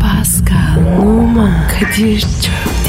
Pascal, Oman, Kadir çok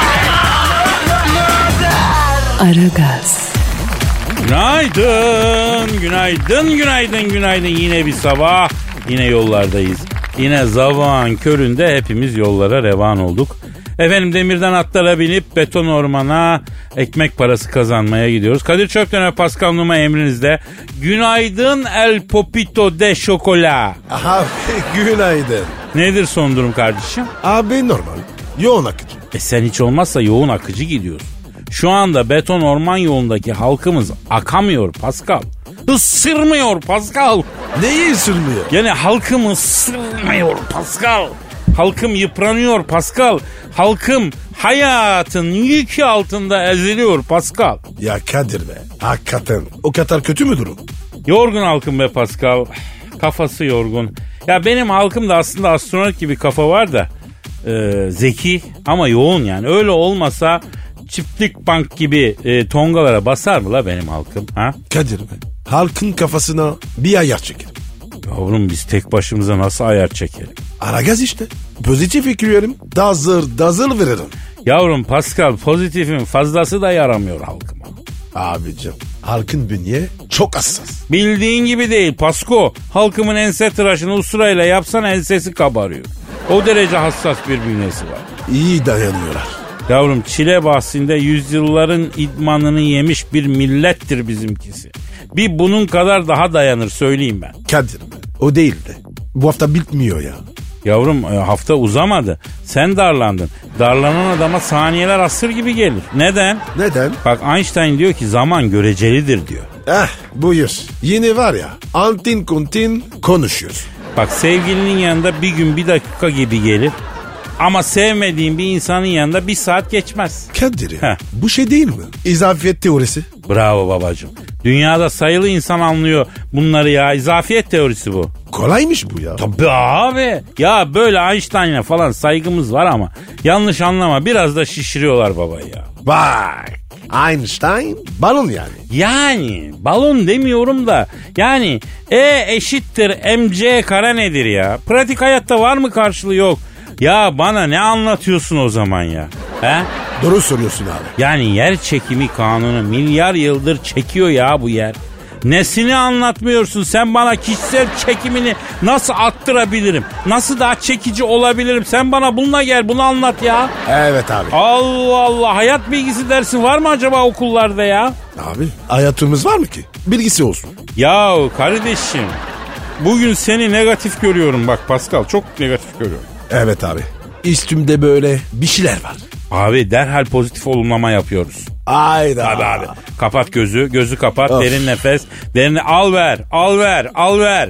Aragaz, Günaydın, günaydın, günaydın, günaydın. Yine bir sabah, yine yollardayız. Yine zaman köründe hepimiz yollara revan olduk. Efendim demirden atlara binip beton ormana ekmek parası kazanmaya gidiyoruz. Kadir Çöpten Pascal Numa emrinizde. Günaydın El Popito de Şokola. Abi günaydın. Nedir son durum kardeşim? Abi normal. Yoğun akıcı. E sen hiç olmazsa yoğun akıcı gidiyorsun. Şu anda beton orman yolundaki halkımız akamıyor Pascal. Isırmıyor Pascal. Neyi sürmüyor? Yani halkım ısırmıyor Pascal. Halkım yıpranıyor Pascal. Halkım hayatın yükü altında eziliyor Pascal. Ya Kadir be. Hakikaten. O kadar kötü mü durum? Yorgun halkım be Pascal. Kafası yorgun. Ya benim halkım da aslında astronot gibi kafa var da e, zeki ama yoğun yani. Öyle olmasa çiftlik bank gibi e, tongalara basar mı la benim halkım? Ha? Kadir be. Halkın kafasına bir ayar çekil. Yavrum biz tek başımıza nasıl ayar çekelim? Aragaz işte. Pozitif fikirlerim. Dazır dazır veririm. Yavrum Pascal pozitifin fazlası da yaramıyor halkıma. Abicim. Halkın bünye çok hassas. Bildiğin gibi değil Pasko. Halkımın ense tıraşını usturayla yapsan ensesi kabarıyor. O derece hassas bir bünyesi var. İyi dayanıyorlar. Yavrum çile bahsinde yüzyılların idmanını yemiş bir millettir bizimkisi. Bir bunun kadar daha dayanır söyleyeyim ben. Kadir be. O değil de. Bu hafta bitmiyor ya. Yavrum e, hafta uzamadı. Sen darlandın. Darlanan adama saniyeler asır gibi gelir. Neden? Neden? Bak Einstein diyor ki zaman görecelidir diyor. Eh buyur. Yine var ya antin kuntin konuşuyor. Bak sevgilinin yanında bir gün bir dakika gibi gelir. Ama sevmediğin bir insanın yanında bir saat geçmez. Kadir ya, Heh. bu şey değil mi? İzafiyet teorisi. Bravo babacığım. Dünyada sayılı insan anlıyor bunları ya. İzafiyet teorisi bu. Kolaymış bu ya. Tabii abi. Ya böyle Einstein'a falan saygımız var ama yanlış anlama biraz da şişiriyorlar baba ya. Bak Einstein balon yani. Yani balon demiyorum da yani E eşittir MC kare nedir ya? Pratik hayatta var mı karşılığı yok. Ya bana ne anlatıyorsun o zaman ya? He? Doğru soruyorsun abi. Yani yer çekimi kanunu milyar yıldır çekiyor ya bu yer. Nesini anlatmıyorsun sen bana kişisel çekimini nasıl attırabilirim? Nasıl daha çekici olabilirim? Sen bana bununla gel bunu anlat ya. Evet abi. Allah Allah hayat bilgisi dersi var mı acaba okullarda ya? Abi hayatımız var mı ki? Bilgisi olsun. Yahu kardeşim bugün seni negatif görüyorum bak Pascal çok negatif görüyorum. Evet abi. Üstümde böyle bir şeyler var. Abi derhal pozitif olumlama yapıyoruz. Hayda. Abi abi. Kapat gözü, gözü kapat, Of. derin nefes. Derin al ver, al ver, al ver.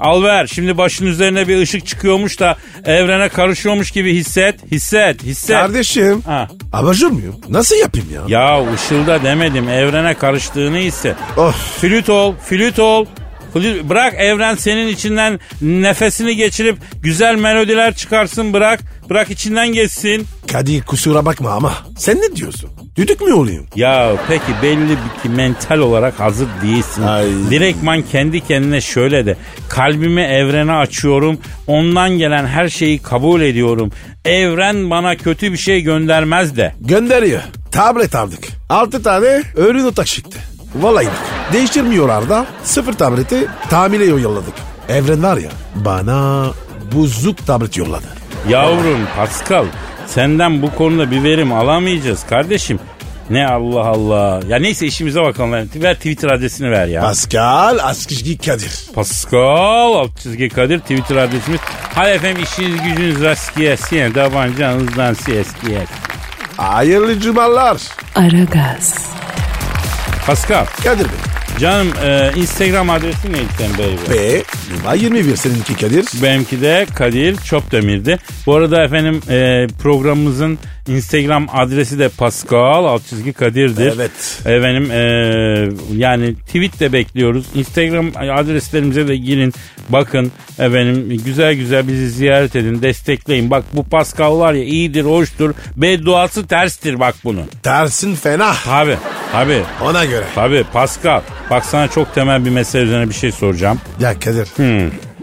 Al ver. Şimdi başın üzerine bir ışık çıkıyormuş da evrene karışıyormuş gibi hisset, hisset, hisset. Kardeşim. Ha. Abajur muyum? Nasıl yapayım ya? Ya ışılda demedim, evrene karıştığını hisset. Of. Flüt ol, flüt ol. Flüt- Bırak evren senin içinden nefesini geçirip güzel melodiler çıkarsın bırak. Bırak içinden geçsin. Kadir kusura bakma ama. Sen ne diyorsun? Düdük mü olayım? Ya peki belli ki mental olarak hazır değilsin. Ay. Direktman kendi kendine şöyle de kalbimi evrene açıyorum. Ondan gelen her şeyi kabul ediyorum. Evren bana kötü bir şey göndermez de. Gönderiyor. Tablet aldık. 6 tane öğle notak çıktı. Vallahi bak. Değiştirmiyorlar da sıfır tableti tamire yolladık. Evren var ya bana buzluk tablet yolladı. Yavrum Pascal senden bu konuda bir verim alamayacağız kardeşim. Ne Allah Allah. Ya neyse işimize bakalım. Ver Twitter adresini ver ya. Pascal Askışgi Kadir. Pascal alt çizgi Kadir Twitter adresimiz. Hay efendim işiniz gücünüz rast gelsin. Davancanızdan ses gelsin. Hayırlı cumalar. Aragaz, Pascal Kadir Bey. canım e, Instagram adresi neydi sen beyler? Ve numara 21 seninki Kadir. Benimki de Kadir Çopdemir'di. Bu arada efendim e, programımızın Instagram adresi de Pascal alt çizgi Kadir'dir. Evet. Efendim e, yani tweet de bekliyoruz. Instagram adreslerimize de girin. Bakın efendim güzel güzel bizi ziyaret edin. Destekleyin. Bak bu Pascal var ya iyidir, hoştur. Bedduası terstir bak bunun. Tersin fena. Tabi tabi Ona göre. tabi Pascal. Bak sana çok temel bir mesele üzerine bir şey soracağım. Ya Kadir.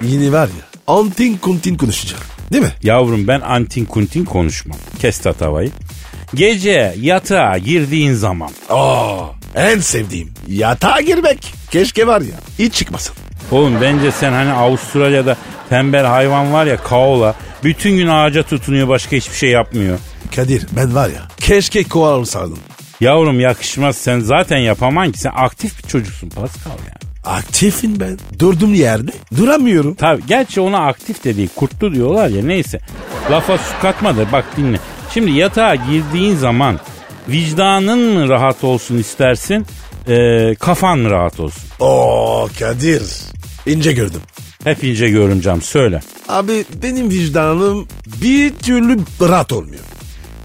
Yine var ya. Antin kuntin konuşacağım. Değil mi? Yavrum ben antin kuntin konuşmam. Kes tatavayı. Gece yatağa girdiğin zaman Aa, en sevdiğim. Yatağa girmek. Keşke var ya. Hiç çıkmasın. Oğlum bence sen hani Avustralya'da tembel hayvan var ya kaola. Bütün gün ağaca tutunuyor başka hiçbir şey yapmıyor. Kadir ben var ya. Keşke koala olsaydım. Yavrum yakışmaz sen zaten yapaman ki sen aktif bir çocuksun Pascal yani. Aktifim ben. Durdum yerde. Duramıyorum. Tabi gerçi ona aktif de değil kurtlu diyorlar ya neyse. Lafa su katma da bak dinle. Şimdi yatağa girdiğin zaman vicdanın mı rahat olsun istersin eee, kafan mı rahat olsun? Oo Kadir. İnce gördüm. Hep ince görümcem söyle. Abi benim vicdanım bir türlü rahat olmuyor.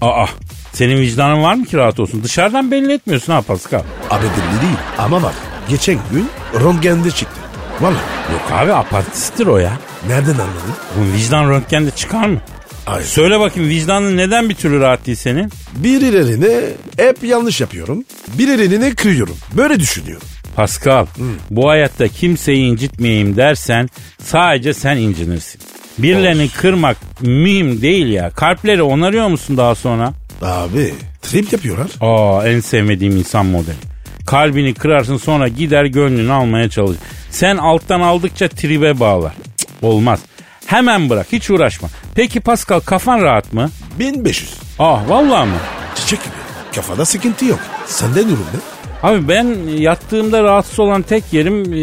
Aa senin vicdanın var mı ki rahat olsun? Dışarıdan belli etmiyorsun ha Pascal. Abi belli değil ama bak geçen gün röntgende çıktı. Vallahi Yok abi apatisttir o ya. nereden anladın? Bu vicdan röntgende çıkar mı? Hayır. Söyle bakayım vicdanın neden bir türlü rahat değil senin? Birilerini hep yanlış yapıyorum. Birilerini kırıyorum. Böyle düşünüyorum. Pascal bu hayatta kimseyi incitmeyeyim dersen sadece sen incinirsin. Birilerini kırmak mühim değil ya. Kalpleri onarıyor musun daha sonra? Abi trip yapıyorlar. Aa en sevmediğim insan modeli. Kalbini kırarsın sonra gider gönlünü almaya çalışır. Sen alttan aldıkça tribe bağlar. Cık, olmaz. Hemen bırak hiç uğraşma. Peki Pascal kafan rahat mı? 1500. Ah vallahi mı? Çiçek gibi. Kafada sıkıntı yok. Sende durum ne? Abi ben yattığımda rahatsız olan tek yerim e,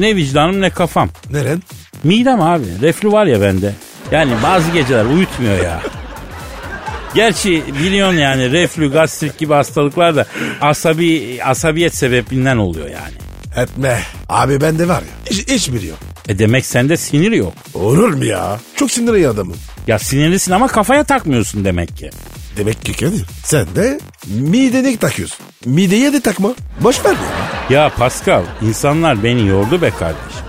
ne vicdanım ne kafam. Neren? Midem abi. Reflü var ya bende. Yani bazı geceler uyutmuyor ya. Gerçi biliyorsun yani reflü, gastrik gibi hastalıklar da asabi asabiyet sebebinden oluyor yani. Etme. Abi bende var ya. Hiç, hiçbiri yok. E demek sende sinir yok. Olur mu ya? Çok sinirli adamım. Ya sinirlisin ama kafaya takmıyorsun demek ki. Demek ki Kadir sen de midene takıyorsun. Mideye de takma. Boş ver ya. Ya Pascal insanlar beni yordu be kardeşim.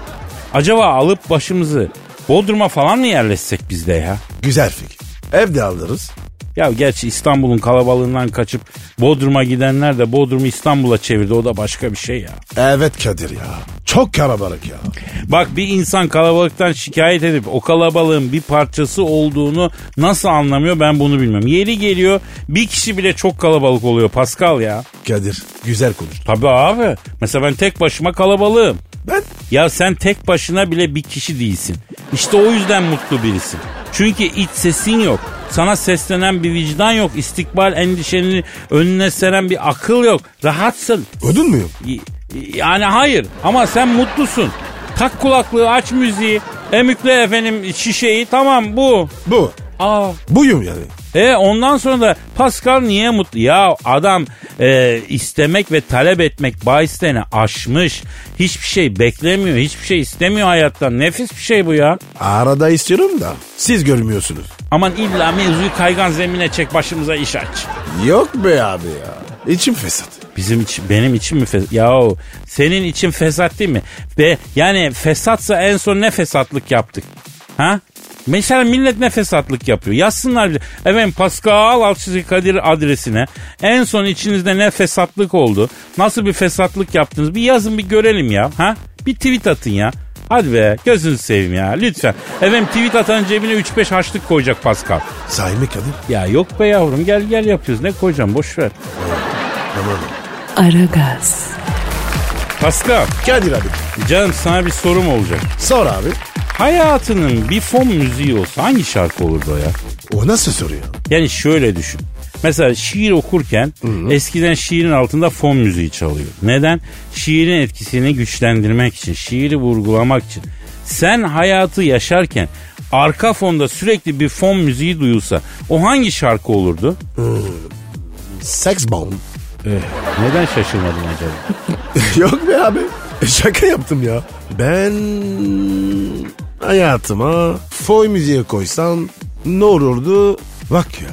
Acaba alıp başımızı Bodrum'a falan mı yerleşsek biz de ya? Güzel fikir. Evde alırız. Ya gerçi İstanbul'un kalabalığından kaçıp Bodrum'a gidenler de Bodrum'u İstanbul'a çevirdi. O da başka bir şey ya. Evet Kadir ya. Çok kalabalık ya. Bak bir insan kalabalıktan şikayet edip o kalabalığın bir parçası olduğunu nasıl anlamıyor ben bunu bilmiyorum. Yeri geliyor bir kişi bile çok kalabalık oluyor Pascal ya. Kadir güzel konuştun. Tabii abi. Mesela ben tek başıma kalabalığım. Ben Ya sen tek başına bile bir kişi değilsin. İşte o yüzden mutlu birisin. Çünkü iç sesin yok. Sana seslenen bir vicdan yok. İstikbal endişeni önüne seren bir akıl yok. Rahatsın. ödün müyüm? Y- Yani hayır ama sen mutlusun. Tak kulaklığı aç müziği. Emükle efendim şişeyi tamam bu. Bu. Aa Buyum yani. e ondan sonra da Pascal niye mutlu? Ya adam e, istemek ve talep etmek bahislerini aşmış. Hiçbir şey beklemiyor, hiçbir şey istemiyor hayattan. Nefis bir şey bu ya. Arada istiyorum da siz görmüyorsunuz. Aman illa mevzuyu kaygan zemine çek başımıza iş aç. Yok be abi ya. İçim fesat. Bizim için, benim için mi fesat? Yahu senin için fesat değil mi? Ve yani fesatsa en son ne fesatlık yaptık? Ha? Mesela millet ne fesatlık yapıyor? Yazsınlar bize. Efendim Pascal Alçızı Kadir adresine en son içinizde ne fesatlık oldu? Nasıl bir fesatlık yaptınız? Bir yazın bir görelim ya. Ha? Bir tweet atın ya. Hadi be gözünüzü seveyim ya lütfen. Efendim tweet atan cebine 3-5 haçlık koyacak Pascal. Sahi mi Kadir? Ya yok be yavrum gel gel yapıyoruz ne koyacağım boş ver. Tamam. Aragaz, Pascal Kadir abi. Canım sana bir sorum olacak. Sor abi. Hayatının bir fon müziği olsa hangi şarkı olurdu o ya? O nasıl soruyor? Yani şöyle düşün. Mesela şiir okurken eskiden şiirin altında fon müziği çalıyor. Neden? Şiirin etkisini güçlendirmek için, şiiri vurgulamak için. Sen hayatı yaşarken arka fonda sürekli bir fon müziği duyulsa o hangi şarkı olurdu? Sex bomb. Neden şaşırmadın acaba? Yok be abi. E, Şaka yaptım ya. Ben hayatıma foy müziği koysam ne olurdu? Bak ya.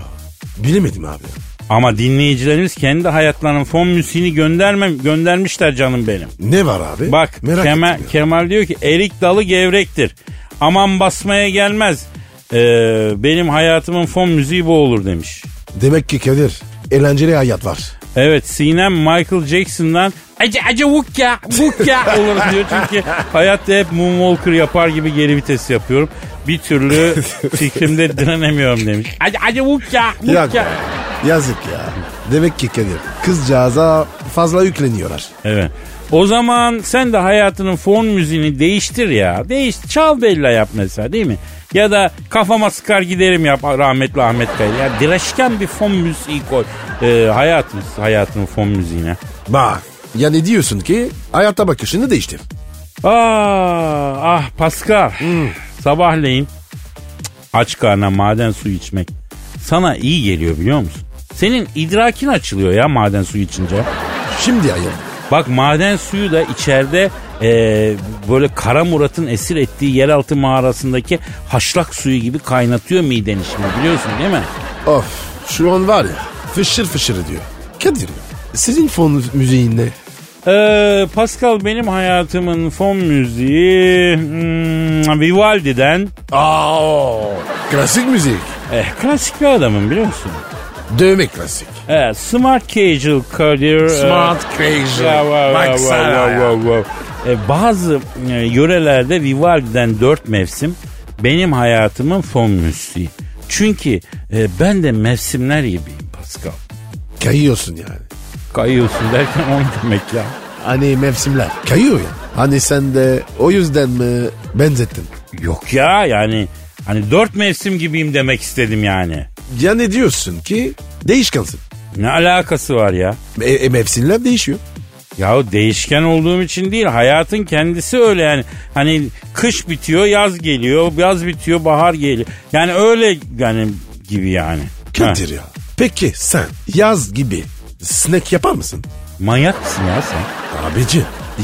Bilemedim abi. Ama dinleyicilerimiz kendi hayatlarının fon müziğini göndermem, göndermişler canım benim. Ne var abi? Bak Merak Kemal, ettim ya. Kemal diyor ki erik dalı gevrektir. Aman basmaya gelmez. Ee, benim hayatımın fon müziği bu olur demiş. Demek ki Kadir eğlenceli hayat var. Evet Sinem Michael Jackson'dan acı acı vukya vukya olur diyor. Çünkü hayatta hep moonwalker yapar gibi geri vites yapıyorum. Bir türlü fikrimde direnemiyorum demiş. Acı acı vukya Ya, vukya. yazık ya. Demek ki Kadir kızcağıza fazla yükleniyorlar. Evet. O zaman sen de hayatının fon müziğini değiştir ya. Değiş, çal bella yap mesela değil mi? Ya da kafama sıkar giderim yap rahmetli Ahmet Bey. Ya direşken bir fon müziği koy. Ee, hayatımız, hayatının fon müziğine. Bak yani diyorsun ki hayata bakışını değiştir. Aa, ah Pascal. Sabahleyin cık, aç karnına maden suyu içmek sana iyi geliyor biliyor musun? Senin idrakin açılıyor ya maden suyu içince. Şimdi ayıl. Bak maden suyu da içeride e, böyle Kara Murat'ın esir ettiği yeraltı mağarasındaki haşlak suyu gibi kaynatıyor miden şimdi biliyorsun değil mi? Of şu an var ya fışır fışır diyor. Kadir sizin fon müziğin ne? Ee, Pascal benim hayatımın fon müziği hmm, Vivaldi'den Aa, klasik müzik. eh, klasik bir adamım biliyor musun? Dövme klasik. Evet, smart casual e, career. casual. bazı e, yörelerde Vivaldi'den dört mevsim benim hayatımın fon müziği. Çünkü e, ben de mevsimler gibiyim Pascal. Kayıyorsun yani. Kayıyorsun derken onu demek ya. Hani mevsimler. Kayıyor ya. Hani sen de o yüzden mi benzettin? Yok ya yani hani dört mevsim gibiyim demek istedim yani. Ya ne diyorsun ki değişkansın. Ne alakası var ya? E, e, mevsimler değişiyor. Yahu değişken olduğum için değil hayatın kendisi öyle yani. Hani kış bitiyor yaz geliyor yaz bitiyor bahar geliyor. Yani öyle yani gibi yani. Kadir Ha, ya. Peki sen yaz gibi snack yapar mısın? Manyak mısın ya sen? Abici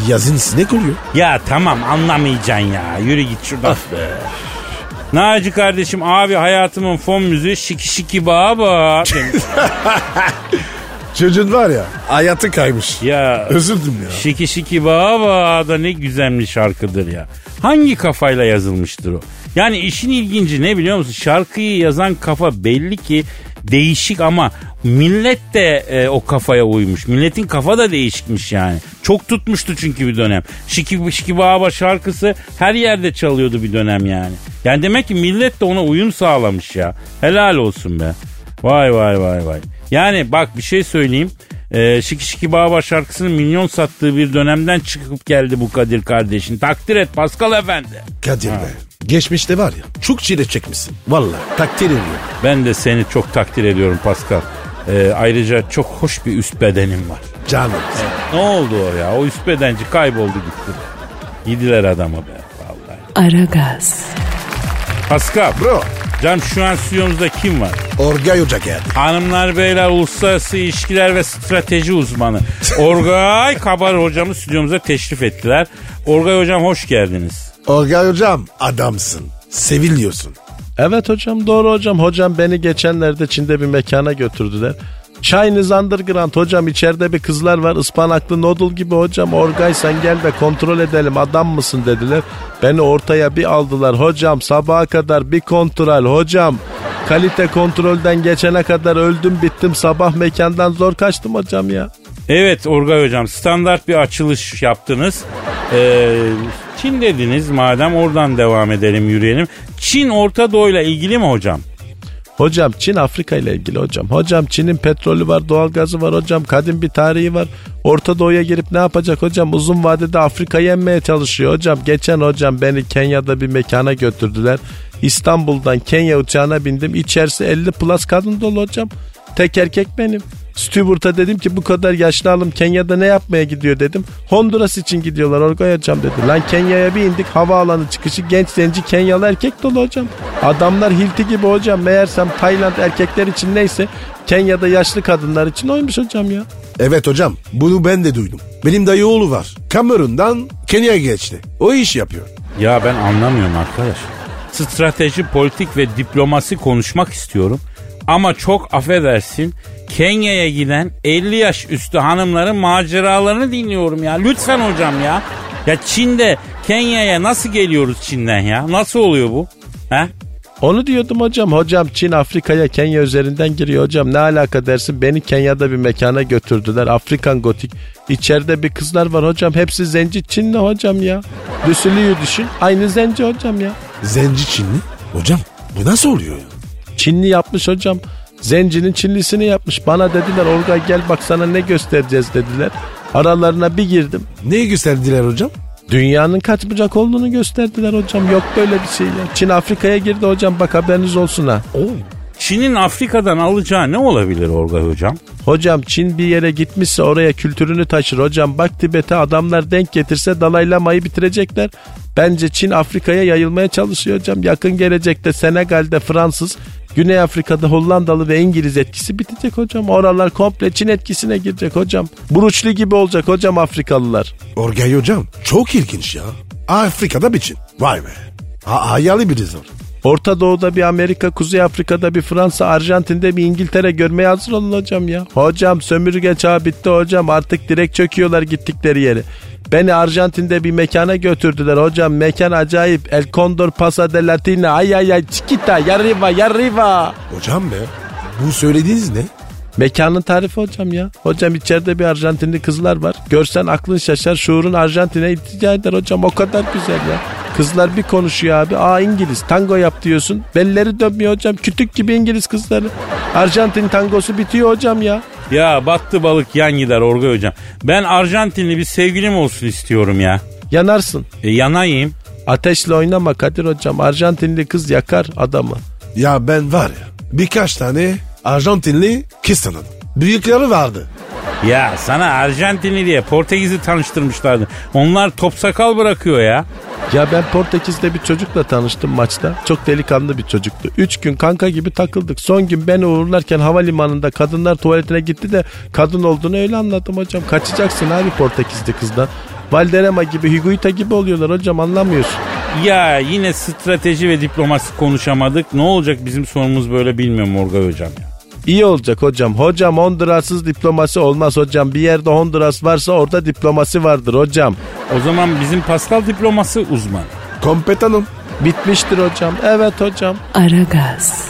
yazın snack oluyor. Ya tamam anlamayacaksın ya yürü git şuradan. be. Naci kardeşim abi hayatımın fon müziği şiki şiki baba. Çocuğun var ya hayatı kaymış. ya Üzüldüm ya. Şiki şiki baba da ne güzel bir şarkıdır ya. Hangi kafayla yazılmıştır o? Yani işin ilginci ne biliyor musun? Şarkıyı yazan kafa belli ki değişik ama millet de e, o kafaya uymuş. Milletin kafa da değişikmiş yani. Çok tutmuştu çünkü bir dönem. Şiki şiki baba şarkısı her yerde çalıyordu bir dönem yani. Yani demek ki millet de ona uyum sağlamış ya. Helal olsun be. Vay vay vay vay. Yani bak bir şey söyleyeyim. Ee, Şiki Şiki Baba şarkısının milyon sattığı bir dönemden çıkıp geldi bu Kadir kardeşin. Takdir et Pascal Efendi. Kadir be. Geçmişte var ya çok çile çekmişsin. Vallahi takdir ediyorum. Ben de seni çok takdir ediyorum Pascal. Ee, ayrıca çok hoş bir üst bedenin var. Canım. Ne oldu o ya? O üst bedenci kayboldu gitti. Yediler adamı be. Vallahi. Aragaz, Pascal. Bro. Can şu an stüdyomuzda kim var? Orgay Hoca geldi. Hanımlar beyler uluslararası ilişkiler ve strateji uzmanı Orgay Kabar hocamı stüdyomuza teşrif ettiler. Orgay hocam hoş geldiniz. Orgay Hocam adamsın. Seviliyorsun. Evet hocam doğru hocam. Hocam beni geçenlerde Çin'de bir mekana götürdüler. Chinese Underground hocam içeride bir kızlar var ıspanaklı noodle gibi hocam Orgay sen gel de kontrol edelim adam mısın dediler. Beni ortaya bir aldılar hocam sabaha kadar bir kontrol hocam. Kalite kontrolden geçene kadar öldüm bittim sabah mekandan zor kaçtım hocam ya. Evet Orgay hocam standart bir açılış yaptınız. Ee, Çin dediniz madem oradan devam edelim yürüyelim. Çin Orta Doğu'yla ilgili mi hocam? Hocam Çin Afrika ile ilgili hocam. Hocam Çin'in petrolü var, doğalgazı var hocam. Kadim bir tarihi var. Orta Doğu'ya girip ne yapacak hocam? Uzun vadede Afrika'yı yenmeye çalışıyor hocam. Geçen hocam beni Kenya'da bir mekana götürdüler. İstanbul'dan Kenya uçağına bindim. İçerisi 50 plus kadın dolu hocam. Tek erkek benim. Stewart'a dedim ki bu kadar yaşlı alım Kenya'da ne yapmaya gidiyor dedim. Honduras için gidiyorlar Orgay hocam dedi. Lan Kenya'ya bir indik havaalanı çıkışı genç zenci Kenyalı erkek dolu hocam. Adamlar hilti gibi hocam meğersem Tayland erkekler için neyse Kenya'da yaşlı kadınlar için oymuş hocam ya. Evet hocam bunu ben de duydum. Benim dayı oğlu var. Kamerun'dan Kenya'ya geçti. O iş yapıyor. Ya ben anlamıyorum arkadaş. Strateji, politik ve diplomasi konuşmak istiyorum. Ama çok affedersin Kenya'ya giden 50 yaş üstü hanımların maceralarını dinliyorum ya. Lütfen hocam ya. Ya Çin'de Kenya'ya nasıl geliyoruz Çin'den ya? Nasıl oluyor bu? He? Onu diyordum hocam. Hocam Çin Afrika'ya Kenya üzerinden giriyor hocam. Ne alaka dersin? Beni Kenya'da bir mekana götürdüler. Afrikan gotik. İçeride bir kızlar var hocam. Hepsi zenci Çinli hocam ya. Düsülüyü düşün. Aynı zenci hocam ya. Zenci Çinli. Hocam bu nasıl oluyor ya? Çinli yapmış hocam. Zencinin Çinlisini yapmış. Bana dediler Orga gel bak sana ne göstereceğiz dediler. Aralarına bir girdim. Neyi gösterdiler hocam? Dünyanın kaç bucak olduğunu gösterdiler hocam. Yok böyle bir şey ya. Çin Afrika'ya girdi hocam bak haberiniz olsun ha. Çin'in Afrika'dan alacağı ne olabilir Orga hocam? Hocam Çin bir yere gitmişse oraya kültürünü taşır. Hocam bak Tibet'e adamlar denk getirse Dalai Lama'yı bitirecekler. Bence Çin Afrika'ya yayılmaya çalışıyor hocam. Yakın gelecekte Senegal'de Fransız, Güney Afrika'da Hollandalı ve İngiliz etkisi bitecek hocam. Oralar komple Çin etkisine girecek hocam. Buruçlu gibi olacak hocam Afrikalılar. Orgay hocam çok ilginç ya. Afrika'da biçim. Vay be. Ha hayali bir rezor. Orta Doğu'da bir Amerika, Kuzey Afrika'da bir Fransa, Arjantin'de bir İngiltere görmeye hazır olun hocam ya. Hocam sömürge çağı bitti hocam artık direkt çöküyorlar gittikleri yere. Beni Arjantin'de bir mekana götürdüler hocam. Mekan acayip. El Condor Pasa de Latina. Ay ay ay chiquita. Yarriba yarriba. Hocam be bu söylediğiniz ne? Mekanın tarifi hocam ya. Hocam içeride bir Arjantinli kızlar var. Görsen aklın şaşar şuurun Arjantin'e iltica eder hocam. O kadar güzel ya. Kızlar bir konuşuyor abi. Aa İngiliz tango yap diyorsun. Belleri dönmüyor hocam. Kütük gibi İngiliz kızları. Arjantin tangosu bitiyor hocam ya. Ya battı balık yan gider Orga hocam. Ben Arjantinli bir sevgilim olsun istiyorum ya. Yanarsın. E, yanayım. Ateşle oynama Kadir hocam. Arjantinli kız yakar adamı. Ya ben var ya birkaç tane Arjantinli kız tanıdım. Büyükleri vardı. Ya sana Arjantinli diye Portekiz'i tanıştırmışlardı. Onlar top sakal bırakıyor ya. Ya ben Portekiz'de bir çocukla tanıştım maçta. Çok delikanlı bir çocuktu. Üç gün kanka gibi takıldık. Son gün beni uğurlarken havalimanında kadınlar tuvaletine gitti de kadın olduğunu öyle anladım hocam. Kaçacaksın abi Portekizli kızdan. Valderema gibi, Higuita gibi oluyorlar hocam anlamıyorsun. Ya yine strateji ve diplomasi konuşamadık. Ne olacak bizim sorumuz böyle bilmiyorum Orga hocam. ya. İyi olacak hocam. Hocam Honduras'sız diplomasi olmaz hocam. Bir yerde Honduras varsa orada diplomasi vardır hocam. O zaman bizim Pascal diplomasi uzmanı. Kompetanım. Bitmiştir hocam. Evet hocam. Aragaz,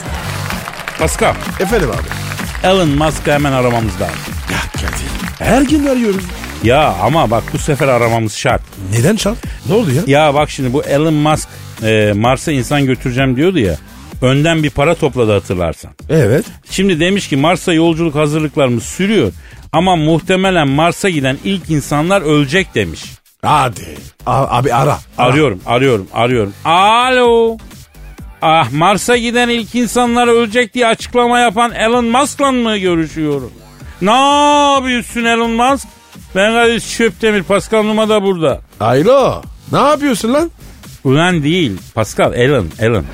Pascal, Efendim abi. Elon Musk'ı hemen aramamız lazım. Ya Kadir. Her gün arıyoruz. Ya ama bak bu sefer aramamız şart. Neden çal? Ne oldu ya? Ya bak şimdi bu Elon Musk e, Mars'a insan götüreceğim diyordu ya. Önden bir para topladı hatırlarsan. Evet. Şimdi demiş ki Mars'a yolculuk hazırlıklarımız sürüyor. Ama muhtemelen Mars'a giden ilk insanlar ölecek demiş. Hadi. A- abi ara. ara. Arıyorum, arıyorum, arıyorum. Alo. Ah Mars'a giden ilk insanlar ölecek diye açıklama yapan Elon Musk'la mı görüşüyorum? Ne yapıyorsun Elon Musk? Ben Kadir Çöptemir, Pascal Numa da burada. Aylo. Ne yapıyorsun lan? Ulan değil, Pascal, Elon, Elon.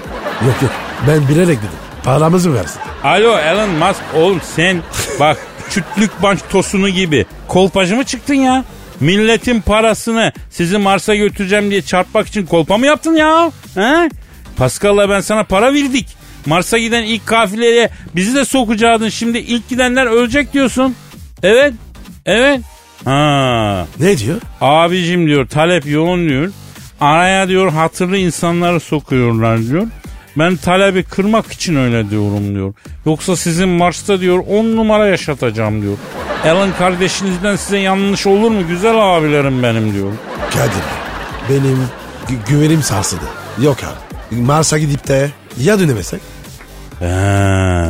Yok yok. Ben bilerek dedim. Paramızı versin. Alo Elon Musk oğlum sen bak çütlük banç tosunu gibi kolpacı mı çıktın ya? Milletin parasını sizi Mars'a götüreceğim diye çarpmak için kolpa mı yaptın ya? He? Pascal'la ben sana para verdik. Mars'a giden ilk kafileye bizi de sokacaktın. Şimdi ilk gidenler ölecek diyorsun. Evet. Evet. Ha. Ne diyor? Abicim diyor talep yoğun diyor. Araya diyor hatırlı insanları sokuyorlar diyor. Ben talebi kırmak için öyle diyorum diyor. Yoksa sizin Mars'ta diyor on numara yaşatacağım diyor. Alan kardeşinizden size yanlış olur mu güzel abilerim benim diyor. Kadir. Benim gü- güvenim sarsıldı. Yok abi. Mars'a gidip de ya dönemesek? He,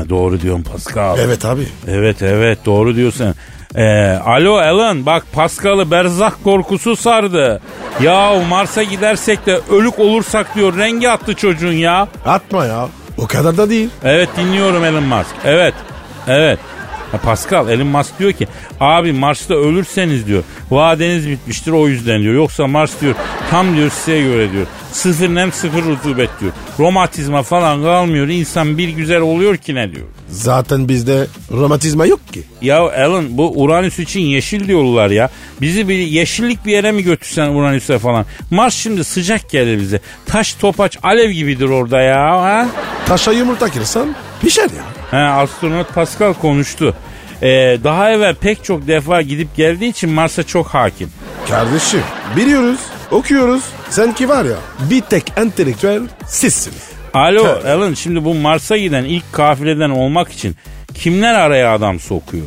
doğru diyorsun Pascal. Evet abi. Evet evet doğru diyorsun. Ee, alo Alan bak Pascal'ı berzak korkusu sardı. Yahu Mars'a gidersek de ölük olursak diyor rengi attı çocuğun ya. Atma ya. O kadar da değil. Evet dinliyorum Elon Musk. Evet. Evet. Ha, Pascal Elon Musk diyor ki abi Mars'ta ölürseniz diyor vadeniz bitmiştir o yüzden diyor. Yoksa Mars diyor tam diyor size göre diyor. Sıfır nem sıfır rutubet diyor. Romatizma falan kalmıyor insan bir güzel oluyor ki ne diyor. Zaten bizde romatizma yok ki. Ya Elon bu Uranüs için yeşil diyorlar ya. Bizi bir yeşillik bir yere mi götürsen Uranüs'e falan. Mars şimdi sıcak gelir bize. Taş topaç alev gibidir orada ya. Ha? Taşa yumurta kırsan pişer ya. He, astronot Pascal konuştu. Ee, daha evvel pek çok defa gidip geldiği için Mars'a çok hakim. Kardeşim biliyoruz, okuyoruz. Sen ki var ya bir tek entelektüel sizsiniz. Alo Tabii. Alan şimdi bu Mars'a giden ilk kafileden olmak için kimler araya adam sokuyor?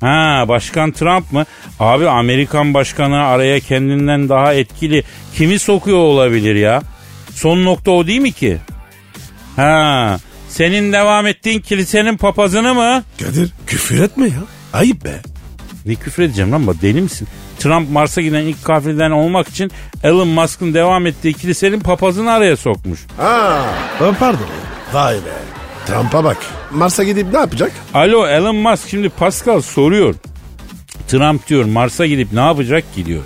Ha başkan Trump mı? Abi Amerikan başkanı araya kendinden daha etkili kimi sokuyor olabilir ya? Son nokta o değil mi ki? Ha senin devam ettiğin kilisenin papazını mı? Kadir küfür etme ya. Ayıp be. Ne küfür edeceğim lan bak deli misin? Trump Mars'a giden ilk kafileden olmak için Elon Musk'ın devam ettiği kilisenin papazını araya sokmuş. Ha. Ben pardon. Vay be. Trump'a bak. Mars'a gidip ne yapacak? Alo Elon Musk şimdi Pascal soruyor. Trump diyor Mars'a gidip ne yapacak ki diyor.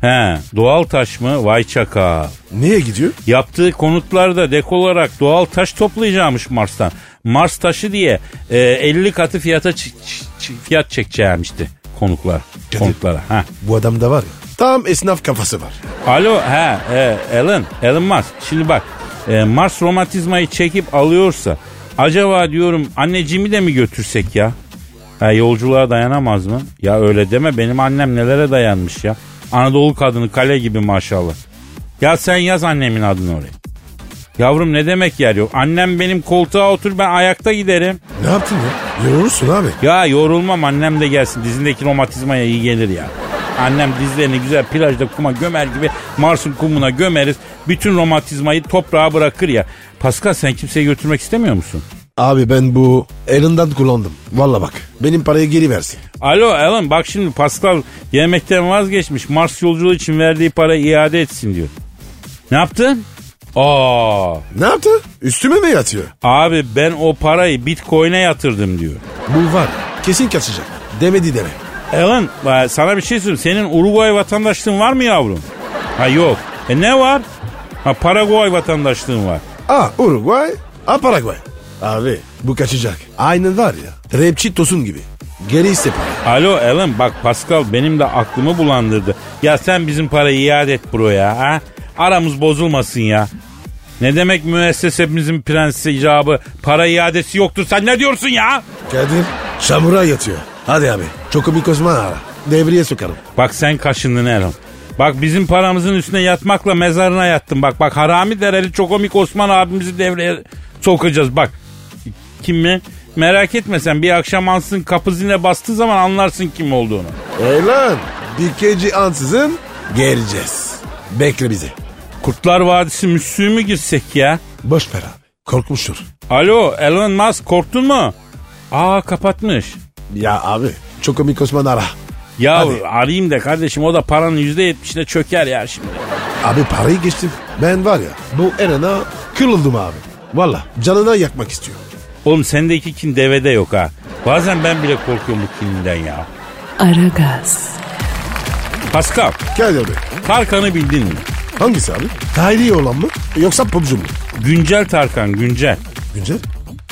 He doğal taş mı? Vay çaka. Niye gidiyor? Yaptığı konutlarda dek olarak doğal taş toplayacağımış Mars'tan. Mars taşı diye e, 50 katı fiyata çi- çi- çi- fiyat çekeceğimişti konuklar. Konuklara. Ha. Bu adamda var ya. Tam esnaf kafası var. Alo he e, Elon, Elon Musk. Şimdi bak e, Mars romatizmayı çekip alıyorsa acaba diyorum anneciğimi de mi götürsek ya? Ha, yolculuğa dayanamaz mı? Ya öyle deme benim annem nelere dayanmış ya. Anadolu kadını kale gibi maşallah. Ya sen yaz annemin adını oraya. Yavrum ne demek yer yok. Annem benim koltuğa otur ben ayakta giderim. Ne yaptın ya? Yorulursun abi. Ya yorulmam annem de gelsin. Dizindeki romatizmaya iyi gelir ya. Annem dizlerini güzel plajda kuma gömer gibi Mars'ın kumuna gömeriz. Bütün romatizmayı toprağa bırakır ya. Pascal sen kimseyi götürmek istemiyor musun? Abi ben bu elinden kullandım. Valla bak. Benim parayı geri versin. Alo Alan bak şimdi Pascal yemekten vazgeçmiş. Mars yolculuğu için verdiği para iade etsin diyor. Ne yaptın? Aa, Ne yaptı? Üstüme mi yatıyor? abi ben o parayı Bitcoin'e yatırdım diyor. Bu var. Kesin kaçacak. Demedi deme. Alan e, sana bir şey söyleyeyim. Senin Uruguay vatandaşlığın var mı yavrum? Ha yok. E ne var? Ha Paraguay vatandaşlığın var. A Ah, Uruguay, A Paraguay. Abi bu kaçacak. Aynı var ya. Rapçi Tosun gibi. Geri iste para. Alo Alan bak Pascal benim de aklımı bulandırdı. Ya sen bizim parayı iade et bro ya. Ha? Aramız bozulmasın ya. Ne demek müessesemizin prensi icabı para iadesi yoktur sen ne diyorsun ya? Kadir çamura yatıyor. Hadi abi. Çokobi Kozman ara. Devreye sokarım. Bak sen kaşındın Erhan. Bak bizim paramızın üstüne yatmakla mezarına yattın. Bak bak harami dereli çokomik Osman abimizi devreye sokacağız bak. Kim mi? Merak etme sen bir akşam ansın kapı zile bastığı zaman anlarsın kim olduğunu. Ey lan. Bir keci ansızın geleceğiz. Bekle bizi. Kurtlar Vadisi müslüğü mü girsek ya? Boş ver abi. Korkmuştur. Alo Elon Musk korktun mu? Aa kapatmış. Ya abi. Çokobi Kozman ara. Ya Hadi. arayayım da kardeşim o da paranın %70'ine çöker ya şimdi. Abi parayı geçtim. Ben var ya bu Eren'a kırıldım abi. Valla canına yakmak istiyor. Oğlum sendeki kin devede yok ha. Bazen ben bile korkuyorum bu kininden ya. Aragaz, Pascal Kadir Bey. Tarkan'ı bildin mi? Hangisi abi? Tahiri olan mı? Yoksa popcu mu? Güncel Tarkan güncel. Güncel.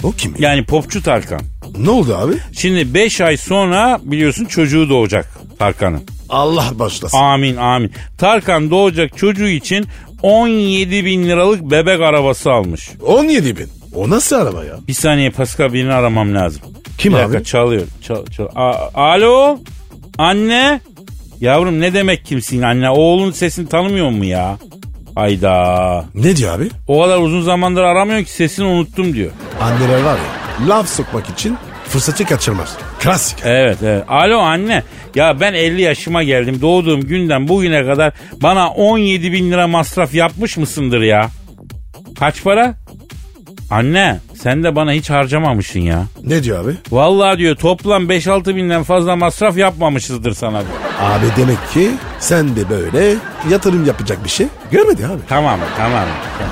O kim? ya? Yani popçu Tarkan. Ne oldu abi? Şimdi 5 ay sonra biliyorsun çocuğu doğacak Tarkan'ın. Allah başlasın. Amin amin. Tarkan doğacak çocuğu için 17 bin liralık bebek arabası almış. 17 bin. O nasıl araba ya? Bir saniye Pascal birini aramam lazım. Kim Bir dakika, abi? çalıyor. Çal, çal. A- Alo? Anne? Yavrum ne demek kimsin anne? Oğlun sesini tanımıyor mu ya? Hayda. Ne diyor abi? O kadar uzun zamandır aramıyor ki sesini unuttum diyor. Anneler var ya laf sokmak için fırsatı kaçırmaz. Klasik. Evet evet. Alo anne. Ya ben 50 yaşıma geldim. Doğduğum günden bugüne kadar bana 17 bin lira masraf yapmış mısındır ya? Kaç para? Anne sen de bana hiç harcamamışsın ya. Ne diyor abi? Vallahi diyor toplam 5-6 binden fazla masraf yapmamışızdır sana diyor. Abi demek ki sen de böyle yatırım yapacak bir şey görmedi abi. Tamam tamam.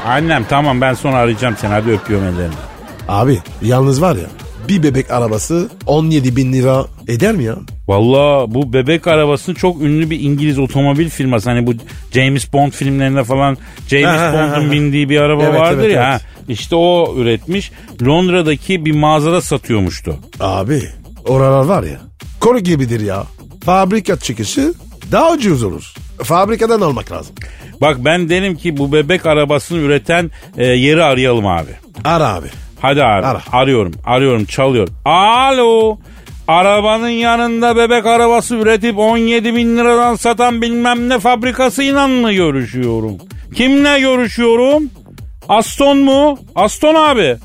Annem tamam ben sonra arayacağım seni hadi öpüyorum ellerini. Abi yalnız var ya bir bebek arabası 17 bin lira eder mi ya? Valla bu bebek arabasını çok ünlü bir İngiliz otomobil firması. Hani bu James Bond filmlerinde falan Ha, ha, James ha, ha. Bond'un bindiği bir araba Evet, vardır evet, ya. evet. ha. İşte o üretmiş. Londra'daki bir mağazada satıyormuştu. Abi oralar var ya koru gibidir ya. Fabrika çıkışı daha ucuz olur. Fabrikadan almak lazım. Bak ben derim ki bu bebek arabasını üreten e, yeri arayalım abi. Ara abi. Hadi abi. Ara. Arıyorum, arıyorum, çalıyorum. Alo. Arabanın yanında bebek arabası üretip 17 bin liradan satan bilmem ne fabrikasıyla mı görüşüyorum? Kimle görüşüyorum? Aston mu? Aston abi.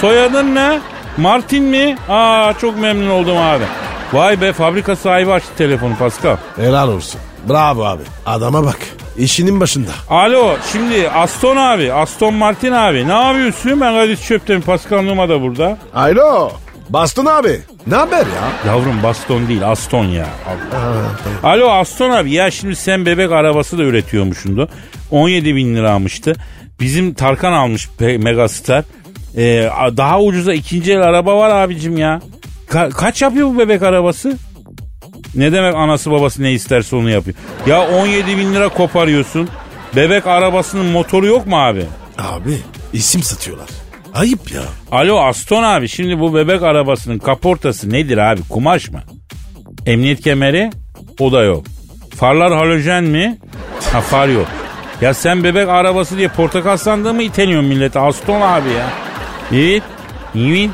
Soyadın ne? Martin mi? Aa çok memnun oldum abi. Vay be fabrika sahibi açtı telefonu Pascal. Helal olsun. Bravo abi. Adama bak. İşinin başında. Alo şimdi Aston abi, Aston Martin abi ne yapıyorsun? Ben Kadir Çöp'teyim Pascal Numa da burada. Alo. Bastın abi. Ne haber ya? Yavrum baston değil Aston ya. Alo Aston abi ya şimdi sen bebek arabası da üretiyormuşsun da. 17 bin lira almıştı. Bizim Tarkan almış pe- Megastar. Ee, a- daha ucuza ikinci el araba var abicim ya. Ka- kaç yapıyor bu bebek arabası? Ne demek anası babası ne isterse onu yapıyor. Ya 17 bin lira koparıyorsun. Bebek arabasının motoru yok mu abi? Abi isim satıyorlar. Ayıp ya. Alo Aston abi şimdi bu bebek arabasının kaportası nedir abi kumaş mı? Emniyet kemeri o da yok. Farlar halojen mi? Ha far yok. Ya sen bebek arabası diye portakal sandığı mı iteniyorsun millete Aston abi ya? Evet. Evet.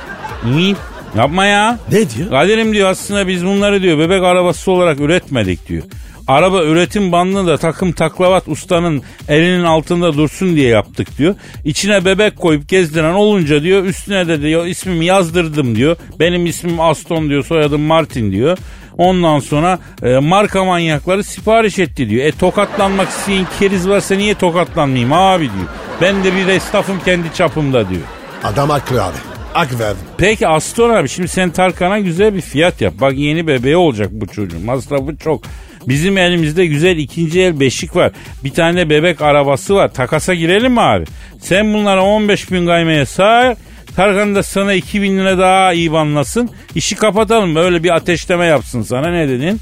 Evet. Yapma ya. Ne diyor? Kadir'im diyor aslında biz bunları diyor bebek arabası olarak üretmedik diyor. Araba üretim bandını da takım taklavat ustanın elinin altında dursun diye yaptık diyor. İçine bebek koyup gezdiren olunca diyor üstüne de diyor ismimi yazdırdım diyor. Benim ismim Aston diyor soyadım Martin diyor. Ondan sonra e, marka manyakları sipariş etti diyor. E tokatlanmak isteyen keriz varsa niye tokatlanmayayım abi diyor. Ben de bir esnafım kendi çapımda diyor. Adam haklı abi. Hak verdim. Peki Aston abi şimdi sen Tarkan'a güzel bir fiyat yap. Bak yeni bebeği olacak bu çocuğun. Masrafı çok. Bizim elimizde güzel ikinci el beşik var. Bir tane bebek arabası var. Takasa girelim mi abi? Sen bunlara 15 bin kaymaya sar. Tarkan da sana 2 bin lira daha ibanlasın. İşi kapatalım. Böyle bir ateşleme yapsın sana. Ne dedin?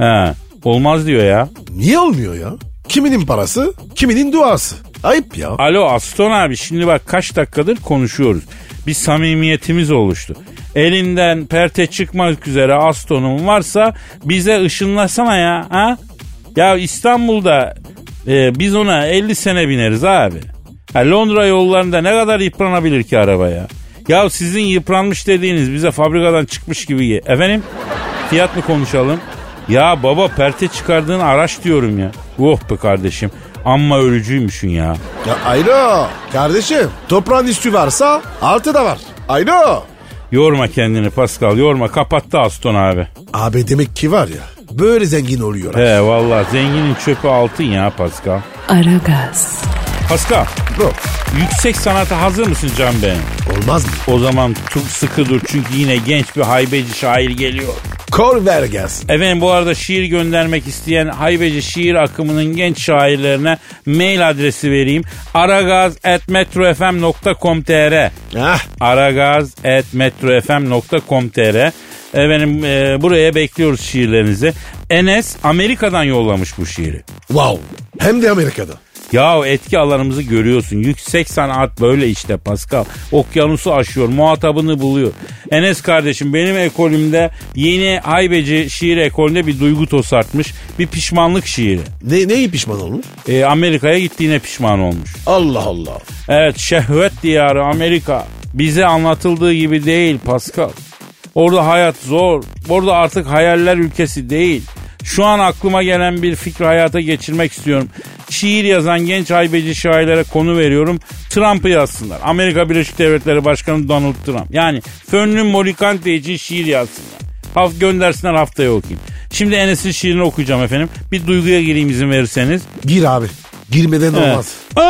He. Olmaz diyor ya. Niye olmuyor ya? Kiminin parası, kiminin duası. Ayıp ya. Alo Aston abi şimdi bak kaç dakikadır konuşuyoruz. Bir samimiyetimiz oluştu. Elinden perte çıkmak üzere Aston'un varsa bize ışınlasana ya. Ha? Ya İstanbul'da e, biz ona 50 sene bineriz abi. Ha, Londra yollarında ne kadar yıpranabilir ki araba ya? Ya sizin yıpranmış dediğiniz bize fabrikadan çıkmış gibi. ge- Efendim fiyat mı konuşalım? Ya baba perte çıkardığın araç diyorum ya. Oh be kardeşim amma ölücüymüşsün ya. Ya Aylo kardeşim toprağın üstü varsa altı da var. Aylo. Yorma kendini Pascal yorma kapattı Aston abi. Abi demek ki var ya böyle zengin oluyor. He vallahi zenginin çöpü altın ya Pascal. Aragaz, Pascal Bro, yüksek sanata hazır mısın Can Bey? olmaz mı? O zaman çok sıkı dur çünkü yine genç bir haybeci şair geliyor. Kor ver gelsin. Efendim bu arada şiir göndermek isteyen haybeci şiir akımının genç şairlerine mail adresi vereyim. aragaz.metrofm.com.tr Hah, aragaz.metrofm.com.tr Efendim e, buraya bekliyoruz şiirlerinizi. Enes Amerika'dan yollamış bu şiiri. wow. Hem de Amerika'da. Ya etki alanımızı görüyorsun. Yüksek sanat böyle işte Pascal. Okyanusu aşıyor, muhatabını buluyor. Enes kardeşim benim ekolümde yeni Haybeci şiir ekolünde bir duygu tosartmış. Bir pişmanlık şiiri. Ne, neyi pişman olmuş? E, Amerika'ya gittiğine pişman olmuş. Allah Allah. Evet şehvet diyarı Amerika bize anlatıldığı gibi değil Pascal. Orada hayat zor. Orada artık hayaller ülkesi değil. Şu an aklıma gelen bir fikri hayata geçirmek istiyorum. Şiir yazan genç haybeci şairlere konu veriyorum. Trump'ı yazsınlar. Amerika Birleşik Devletleri Başkanı Donald Trump. Yani Fönlü Morikante için şiir yazsınlar. Haft göndersinler haftaya okuyayım. Şimdi Enes'in şiirini okuyacağım efendim. Bir duyguya gireyim izin verirseniz. Gir abi. Girmeden olmaz. Aa!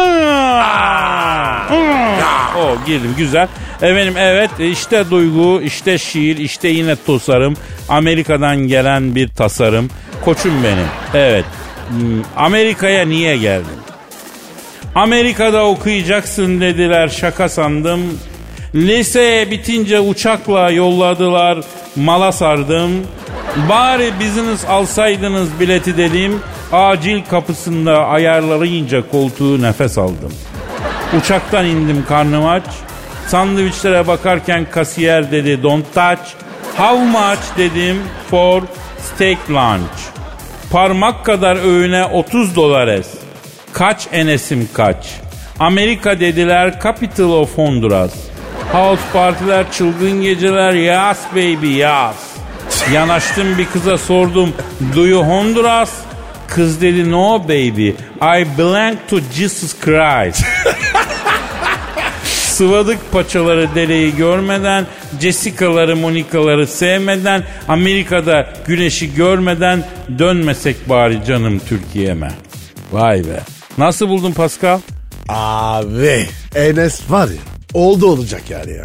Aa! O girdim güzel. Efendim evet işte duygu, işte şiir, işte yine tasarım. Amerika'dan gelen bir tasarım. Koçum benim. Evet. Hmm, Amerika'ya niye geldim? Amerika'da okuyacaksın dediler şaka sandım. Lise bitince uçakla yolladılar mala sardım. Bari biziniz alsaydınız bileti dedim. Acil kapısında ayarlayınca koltuğu nefes aldım. Uçaktan indim karnım aç. Sandviçlere bakarken kasiyer dedi don't touch. How much dedim for steak lunch. Parmak kadar öğüne 30 dolares. Kaç enesim kaç. Amerika dediler capital of Honduras. House partiler, çılgın geceler, yas baby yas. Yanaştım bir kıza sordum, do you Honduras? Kız dedi no baby, I belong to Jesus Christ. Sıvadık paçaları dereyi görmeden, Jessica'ları Monika'ları sevmeden, Amerika'da güneşi görmeden dönmesek bari canım Türkiye'me. Vay be. Nasıl buldun Pascal? Abi Enes var ya oldu olacak yani ya.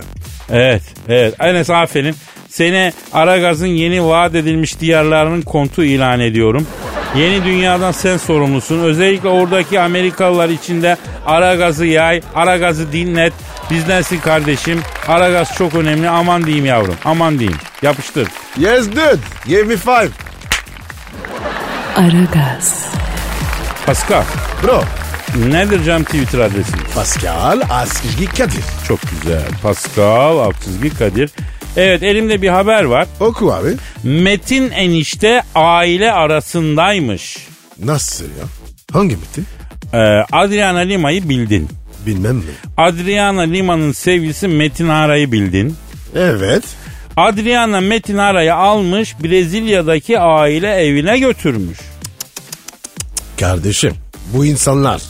Evet, evet. Enes aferin. Seni Aragaz'ın yeni vaat edilmiş diyarlarının kontu ilan ediyorum. Yeni dünyadan sen sorumlusun. Özellikle oradaki Amerikalılar içinde Aragaz'ı yay, Aragaz'ı dinlet. Bizdensin kardeşim. Aragaz çok önemli. Aman diyeyim yavrum. Aman diyeyim. Yapıştır. Yes dude give me five. Aragaz, Pascal, Bro nedir cam Twitter adresimiz? Pascal Askizgi Kadir. Çok güzel. Pascal, alt çizgi Kadir. Evet elimde bir haber var. Oku abi. Metin enişte aile arasındaymış. Nasıl ya? Hangi miti? Ee, Adriana Lima'yı bildin. Bilmem mi? Adriana Lima'nın sevgilisi Metin Ara'yı bildin. Evet. Adriana Metin Ara'yı almış Brezilya'daki aile evine götürmüş. Kardeşim bu insanlar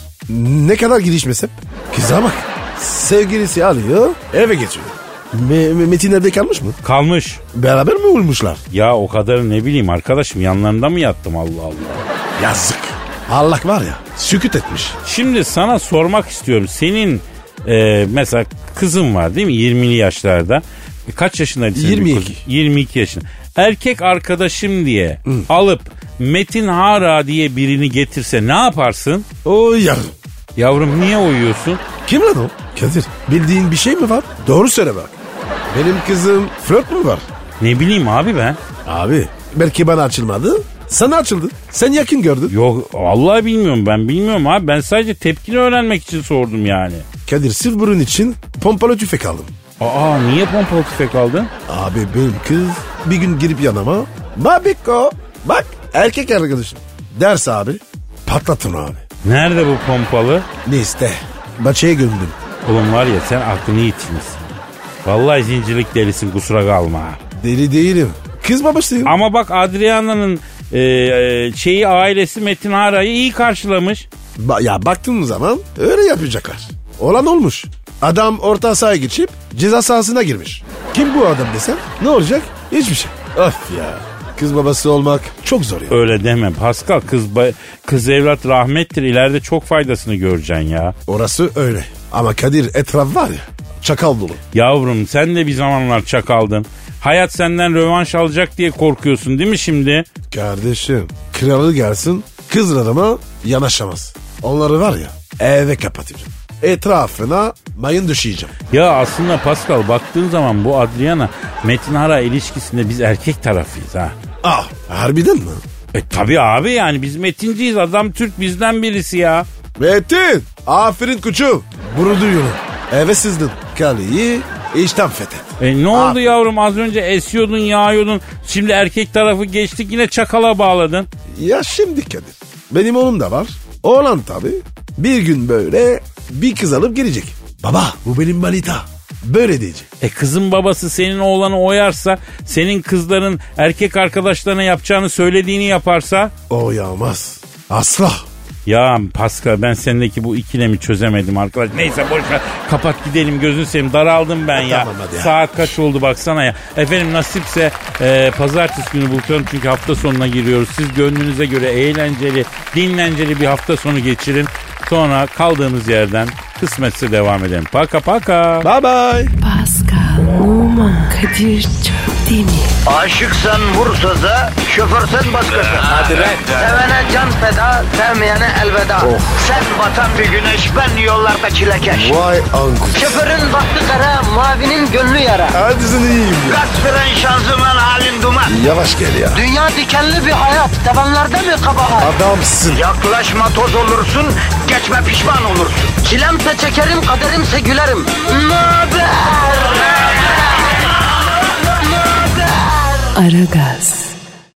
ne kadar girişmesem kıza bak. Sevgilisi alıyor eve geçiyor. Me- Me- Metin evde kalmış mı? Kalmış. Beraber mi olmuşlar? Ya o kadar ne bileyim arkadaşım yanlarında mı yattım Allah Allah. Yazık. Allah var ya sükut etmiş. Şimdi sana sormak istiyorum. Senin e, mesela kızın var değil mi 20'li yaşlarda. E, kaç yaşındaydı senin 22. kızın? 22 yaşında. Erkek arkadaşım diye alıp Metin Hara diye birini getirse ne yaparsın? O yar. Yavrum niye uyuyorsun? Kim lan o? Kadir bildiğin bir şey mi var? Doğru söyle bak. Benim kızım flört mü var? Ne bileyim abi ben. Abi belki bana açılmadı. Sana açıldı. Sen yakın gördün. Yok vallahi bilmiyorum ben bilmiyorum abi. Ben sadece tepkini öğrenmek için sordum yani. Kadir sırf bunun için pompalı tüfek aldım. Aa niye pompalı tüfek aldın? Abi benim kız bir gün girip yanıma Babiko bak erkek arkadaşım ders abi patlatın abi. Nerede bu pompalı? Neyse maçaya gömdüm. Oğlum var ya sen aklını yitirmişsin. Vallahi zincirlik delisin kusura kalma. ha. Deli değilim. Kız babasıyım. Ama bak Adriana'nın e, e, şeyi ailesi Metin Hara'yı iyi karşılamış. Ba- ya baktığım zaman öyle yapacaklar. Olan olmuş. Adam orta sahaya geçip ceza sahasına girmiş. Kim bu adam desem ne olacak? Hiçbir şey. Of ya. Kız babası olmak çok zor ya. Öyle deme Pascal kız ba- kız evlat rahmettir ileride çok faydasını göreceksin ya. Orası öyle. Ama Kadir etraf var ya çakal dolu. Yavrum sen de bir zamanlar çakaldın. Hayat senden rövanş alacak diye korkuyorsun değil mi şimdi? Kardeşim kralı gelsin kızlarıma yanaşamaz. Onları var ya eve kapatacağım. Etrafına mayın düşeceğim. Ya aslında Pascal baktığın zaman bu Adriana Metin Hara ilişkisinde biz erkek tarafıyız ha. Ah harbiden mi? E tabi abi yani biz Metinciyiz adam Türk bizden birisi ya. Metin aferin kuçum. Bunu duyuyorum. Eve sızdın. Kaleyi işten fethet. E ne oldu Abi. yavrum az önce esiyordun yağıyordun şimdi erkek tarafı geçtik yine çakala bağladın. Ya şimdi Kadir. Benim oğlum da var. Oğlan tabii. Bir gün böyle bir kız alıp gelecek. Baba bu benim balita. Böyle diyecek. E kızın babası senin oğlanı oyarsa senin kızların erkek arkadaşlarına yapacağını söylediğini yaparsa O yağmaz. Asla. Ya Pascal ben sendeki bu ikilemi çözemedim arkadaş. Neyse boş ver. Kapat gidelim gözünü seveyim. Daraldım ben ya. E, Tamam, hadi ya. Saat kaç oldu baksana ya. Efendim nasipse e, pazartesi günü buluşalım çünkü hafta sonuna giriyoruz. Siz gönlünüze göre eğlenceli, dinlenceli bir hafta sonu geçirin. Sonra kaldığımız yerden kısmetse devam edelim. Paka paka. Bye bye. Pascal, Oman, Kadir çok değil mi? Aşıksan vursa da, şoförsen başkasın. Hadi Sevene can feda, sevmeyene elveda. Sen batan bir güneş, ben yollarda çilekeş. Vay anku. Şoförün baktı kara, mavinin gönlü yara. Hadi sen iyiyim ya. Kasperen şanzıman halin duman. Yavaş gel ya. Dünya dikenli bir hayat, sevenlerde mi kabahar? Adamsın. Yaklaşma toz olursun, geçme pişman olursun. Çilemse çekerim, kaderimse gülerim. Möber! Aragaz.